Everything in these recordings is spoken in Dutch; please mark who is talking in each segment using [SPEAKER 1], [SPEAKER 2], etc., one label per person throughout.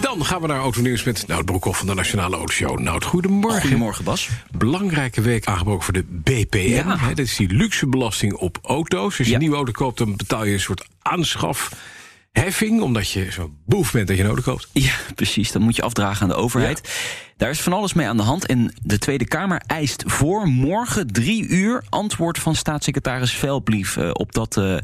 [SPEAKER 1] Dan gaan we naar Autonieuws met Nout Broekhoff van de Nationale Autoshow. Nout, goedemorgen.
[SPEAKER 2] Goedemorgen, Bas.
[SPEAKER 1] Belangrijke week aangebroken voor de BPM.
[SPEAKER 2] Ja.
[SPEAKER 1] Hè, dat is die luxe belasting op auto's. Als je
[SPEAKER 2] Ja.
[SPEAKER 1] een nieuwe auto koopt, dan betaal je een soort aanschafheffing... omdat je zo boef bent dat je een auto koopt.
[SPEAKER 2] Ja, precies. Dat moet je afdragen aan de overheid. Daar is van alles mee aan de hand. En de Tweede Kamer eist voor morgen drie uur antwoord van staatssecretaris Velblief eh, op dat eh,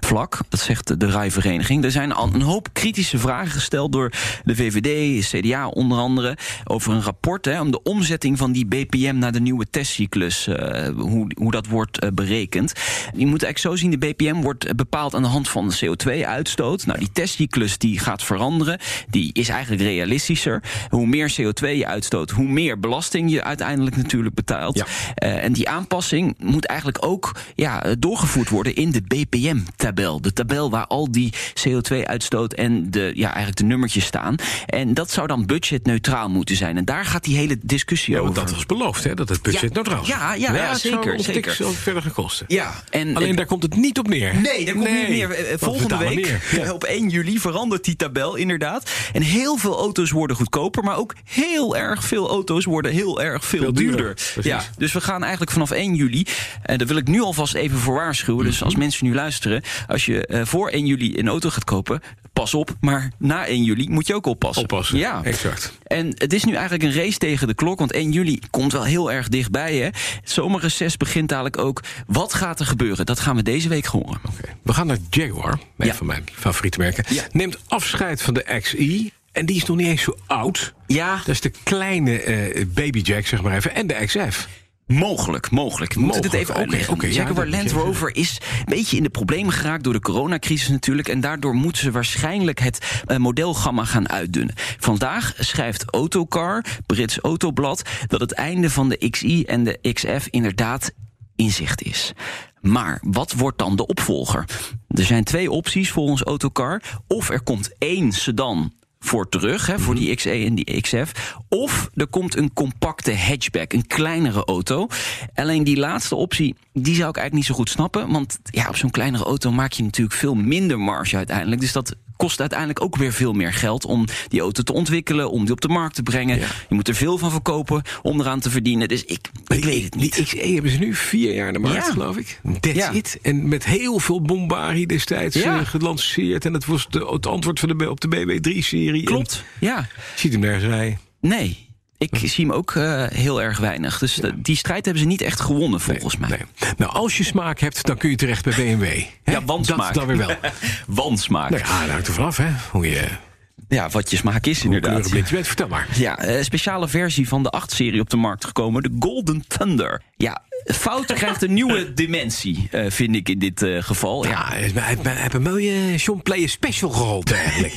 [SPEAKER 2] vlak. Dat zegt de rijvereniging. Er zijn al een hoop kritische vragen gesteld door de VVD, CDA onder andere. Over een rapport hè, om de omzetting van die BPM naar de nieuwe testcyclus. eh, hoe, hoe dat wordt eh, berekend. Je moet eigenlijk zo zien: de BPM wordt eh, bepaald aan de hand van de CO2-uitstoot. Nou, die testcyclus die gaat veranderen. Die is eigenlijk realistischer. Hoe meer CO2 je uitstoot, hoe meer belasting je uiteindelijk natuurlijk betaalt.
[SPEAKER 1] Ja.
[SPEAKER 2] Eh, en die aanpassing moet eigenlijk ook ja, eh, doorgevoerd worden in de BPM-tabel. De tabel waar al die CO2-uitstoot en de, ja, eigenlijk de nummertjes staan. En dat zou dan budgetneutraal moeten zijn. En daar gaat die hele discussie
[SPEAKER 1] Ja, want
[SPEAKER 2] over.
[SPEAKER 1] dat was beloofd, hè, dat het budget
[SPEAKER 2] Ja.
[SPEAKER 1] neutraal is.
[SPEAKER 2] Ja, ja, ja,
[SPEAKER 1] het zou
[SPEAKER 2] zeker,
[SPEAKER 1] ons
[SPEAKER 2] zeker.
[SPEAKER 1] niks verder gekosten.
[SPEAKER 2] ja, en
[SPEAKER 1] Alleen
[SPEAKER 2] en-
[SPEAKER 1] daar komt het niet op neer. hè?
[SPEAKER 2] Nee, dat komt niet meer. Eh,
[SPEAKER 1] want we
[SPEAKER 2] Volgende
[SPEAKER 1] betalen
[SPEAKER 2] week,
[SPEAKER 1] meer. Ja.
[SPEAKER 2] op 1 juli, verandert die tabel inderdaad. En heel veel auto's worden goedkoper, maar ook heel erg veel auto's worden heel erg veel,
[SPEAKER 1] Veel duurder.
[SPEAKER 2] duurder.
[SPEAKER 1] Precies.
[SPEAKER 2] Ja, dus we gaan eigenlijk vanaf 1 juli, en daar wil ik nu alvast even voor waarschuwen.
[SPEAKER 1] Mhm.
[SPEAKER 2] Dus als mensen nu luisteren, als je eh, voor 1 juli een auto gaat kopen, pas op. Maar na 1 juli moet je ook oppassen.
[SPEAKER 1] Oppassen,
[SPEAKER 2] Ja,
[SPEAKER 1] exact.
[SPEAKER 2] en het is nu eigenlijk een race tegen de klok. Want 1 juli komt wel heel erg dichtbij. Hè? Het Zomerreces begint dadelijk ook. Wat gaat er gebeuren? Dat gaan we deze week horen.
[SPEAKER 1] Oké, We gaan naar Jaguar, een
[SPEAKER 2] Ja.
[SPEAKER 1] van mijn favoriete merken.
[SPEAKER 2] Ja.
[SPEAKER 1] Neemt afscheid van de XI. En die is nog niet eens zo oud.
[SPEAKER 2] Ja.
[SPEAKER 1] Dat is de kleine eh, Baby Jack, zeg maar even. En de XF.
[SPEAKER 2] Mogelijk, mogelijk. We moeten dit
[SPEAKER 1] Mogelijk,
[SPEAKER 2] even
[SPEAKER 1] oké,
[SPEAKER 2] uitleggen.
[SPEAKER 1] oké, ja,
[SPEAKER 2] Jaguar
[SPEAKER 1] dat moet
[SPEAKER 2] Land
[SPEAKER 1] je even-
[SPEAKER 2] Rover is een beetje in de problemen geraakt... door de coronacrisis natuurlijk. En daardoor moeten ze waarschijnlijk het eh, modelgamma gaan uitdunnen. Vandaag schrijft Autocar, Brits Autoblad... dat het einde van de XI en de XF inderdaad in zicht is. Maar wat wordt dan de opvolger? Er zijn twee opties volgens Autocar. Of er komt één sedan voor terug, hè, voor
[SPEAKER 1] Mhm.
[SPEAKER 2] die XE en die XF. Of er komt een compacte hatchback, een kleinere auto. Alleen die laatste optie, die zou ik eigenlijk niet zo goed snappen. Want ja, op zo'n kleinere auto maak je natuurlijk veel minder marge uiteindelijk. Dus dat kost uiteindelijk ook weer veel meer geld om die auto te ontwikkelen, om die op de markt te brengen.
[SPEAKER 1] Ja.
[SPEAKER 2] Je moet er veel van verkopen om eraan te verdienen. Dus ik, ik weet het niet.
[SPEAKER 1] Die XE hebben ze nu vier jaar in de markt,
[SPEAKER 2] Ja.
[SPEAKER 1] geloof ik. That's
[SPEAKER 2] Ja.
[SPEAKER 1] it. En met heel veel bombarie destijds
[SPEAKER 2] Ja.
[SPEAKER 1] eh, gelanceerd. En het was de, het antwoord van de, B- op de BB3-serie.
[SPEAKER 2] Klopt. Ja.
[SPEAKER 1] Ziet hem nergens rijden.
[SPEAKER 2] Nee, ik
[SPEAKER 1] Hm.
[SPEAKER 2] zie hem ook eh, heel erg weinig. Dus de- die strijd hebben ze niet echt gewonnen, volgens mij.
[SPEAKER 1] Nee. Nou, als je smaak hebt, dan kun je terecht bij BMW. Hè?
[SPEAKER 2] Ja,
[SPEAKER 1] Dat
[SPEAKER 2] wansmaak.
[SPEAKER 1] dan weer wel.
[SPEAKER 2] Wansmaak.
[SPEAKER 1] nou ja, dat hangt er vanaf, hè. Hoe je
[SPEAKER 2] Ja, wat je smaak is inderdaad.
[SPEAKER 1] kleurenblind je bent. Vertel maar.
[SPEAKER 2] Ja, eh, speciale versie van de 8-serie op de markt gekomen, de Golden Thunder. Ja, fout krijgt een nieuwe dimensie, eh, vind ik in dit eh, geval. Ja,
[SPEAKER 1] Ja, hij heeft- hij heeft een mooie John Player special geholpen eigenlijk.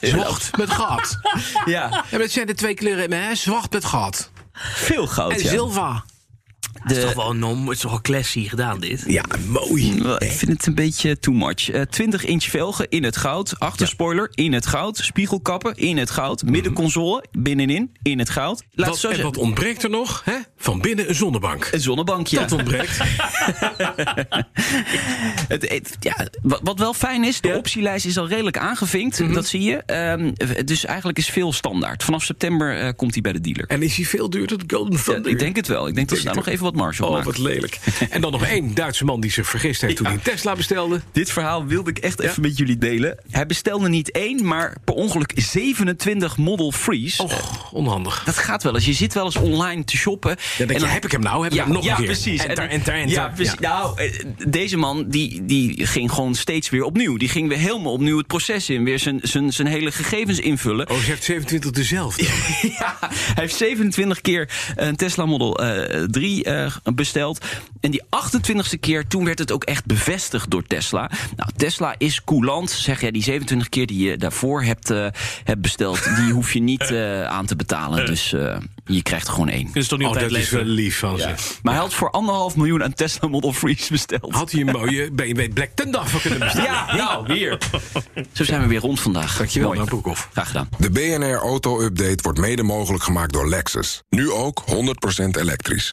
[SPEAKER 1] zwart met gat.
[SPEAKER 2] ja,
[SPEAKER 1] Ja, maar het zijn de twee kleuren in me, hè? Zwart met gat.
[SPEAKER 2] veel goud.
[SPEAKER 1] En
[SPEAKER 2] ja.
[SPEAKER 1] zilver.
[SPEAKER 3] Het is toch wel een nom, het is toch wel classy gedaan dit.
[SPEAKER 1] Ja, mooi.
[SPEAKER 2] Eh, Ik vind het een beetje too much. Eh, 20 inch velgen in het goud. Achterspoiler in het goud. Spiegelkappen in het goud. Middenconsole binnenin in het goud. Laat het
[SPEAKER 1] Wat,
[SPEAKER 2] zo
[SPEAKER 1] en
[SPEAKER 2] zeggen.
[SPEAKER 1] wat ontbreekt er nog? Hè? Van binnen een zonnebank.
[SPEAKER 2] Een zonnebankje.
[SPEAKER 1] Dat ontbreekt.
[SPEAKER 2] Het, het- ja, wat, wat wel fijn is, de optielijst is al redelijk aangevinkt. Dat zie je. Ehm, dus eigenlijk is veel standaard. Vanaf september eh, komt hij bij de dealer.
[SPEAKER 1] En is hij veel duurder dan Golden
[SPEAKER 2] Ja,
[SPEAKER 1] Thunder?
[SPEAKER 2] ik denk het wel. Ik denk dat ze daar nog even wat marge op
[SPEAKER 1] Oh,
[SPEAKER 2] maken.
[SPEAKER 1] wat lelijk. En dan nog één Duitse man die zich vergist heeft toen hij een Tesla bestelde.
[SPEAKER 2] Dit verhaal wilde ik echt even met jullie delen. Hij bestelde niet één, maar per ongeluk 27 Model 3's.
[SPEAKER 1] Och, onhandig.
[SPEAKER 2] Dat gaat wel eens. Je zit wel eens online te shoppen.
[SPEAKER 1] Ja, denk je, heb ik hem nou? Heb ik hem nog een keer?
[SPEAKER 2] Precies.
[SPEAKER 1] Enter,
[SPEAKER 2] En-
[SPEAKER 1] enter, enter.
[SPEAKER 2] Ja, precies.
[SPEAKER 1] Ja.
[SPEAKER 2] Nou, eh, deze man die, die ging gewoon steeds weer opnieuw. Die ging weer helemaal opnieuw het proces in. Weer zijn, zijn, zijn hele gegevens invullen.
[SPEAKER 1] Oh, ze heeft 27 dezelfde.
[SPEAKER 2] Ja, hij heeft 27 keer een Tesla Model eh, 3 eh, besteld. En die 28ste keer, toen werd het ook echt bevestigd door Tesla. Nou, Tesla is coulant. Zeg jij, die 27 keer die je daarvoor hebt, eh, hebt besteld, die hoef je niet eh, aan te betalen. Dus eh, Je krijgt er gewoon één.
[SPEAKER 3] Kunnen ze toch niet
[SPEAKER 1] Oh,
[SPEAKER 3] op tijd
[SPEAKER 1] dat is wel
[SPEAKER 3] leveren?
[SPEAKER 1] lief van ze.
[SPEAKER 2] Maar hij had voor anderhalf miljoen aan Tesla Model 3's besteld.
[SPEAKER 1] Had hij een mooie BMW Black Tenda voor kunnen bestellen.
[SPEAKER 2] Ja, nou, hier. Zo zijn we weer rond vandaag.
[SPEAKER 1] Dankjewel,
[SPEAKER 2] Mooi.
[SPEAKER 1] Daan Broekhoff.
[SPEAKER 2] Graag gedaan.
[SPEAKER 4] De BNR Auto Update wordt mede mogelijk gemaakt door Lexus. Nu ook 100% elektrisch.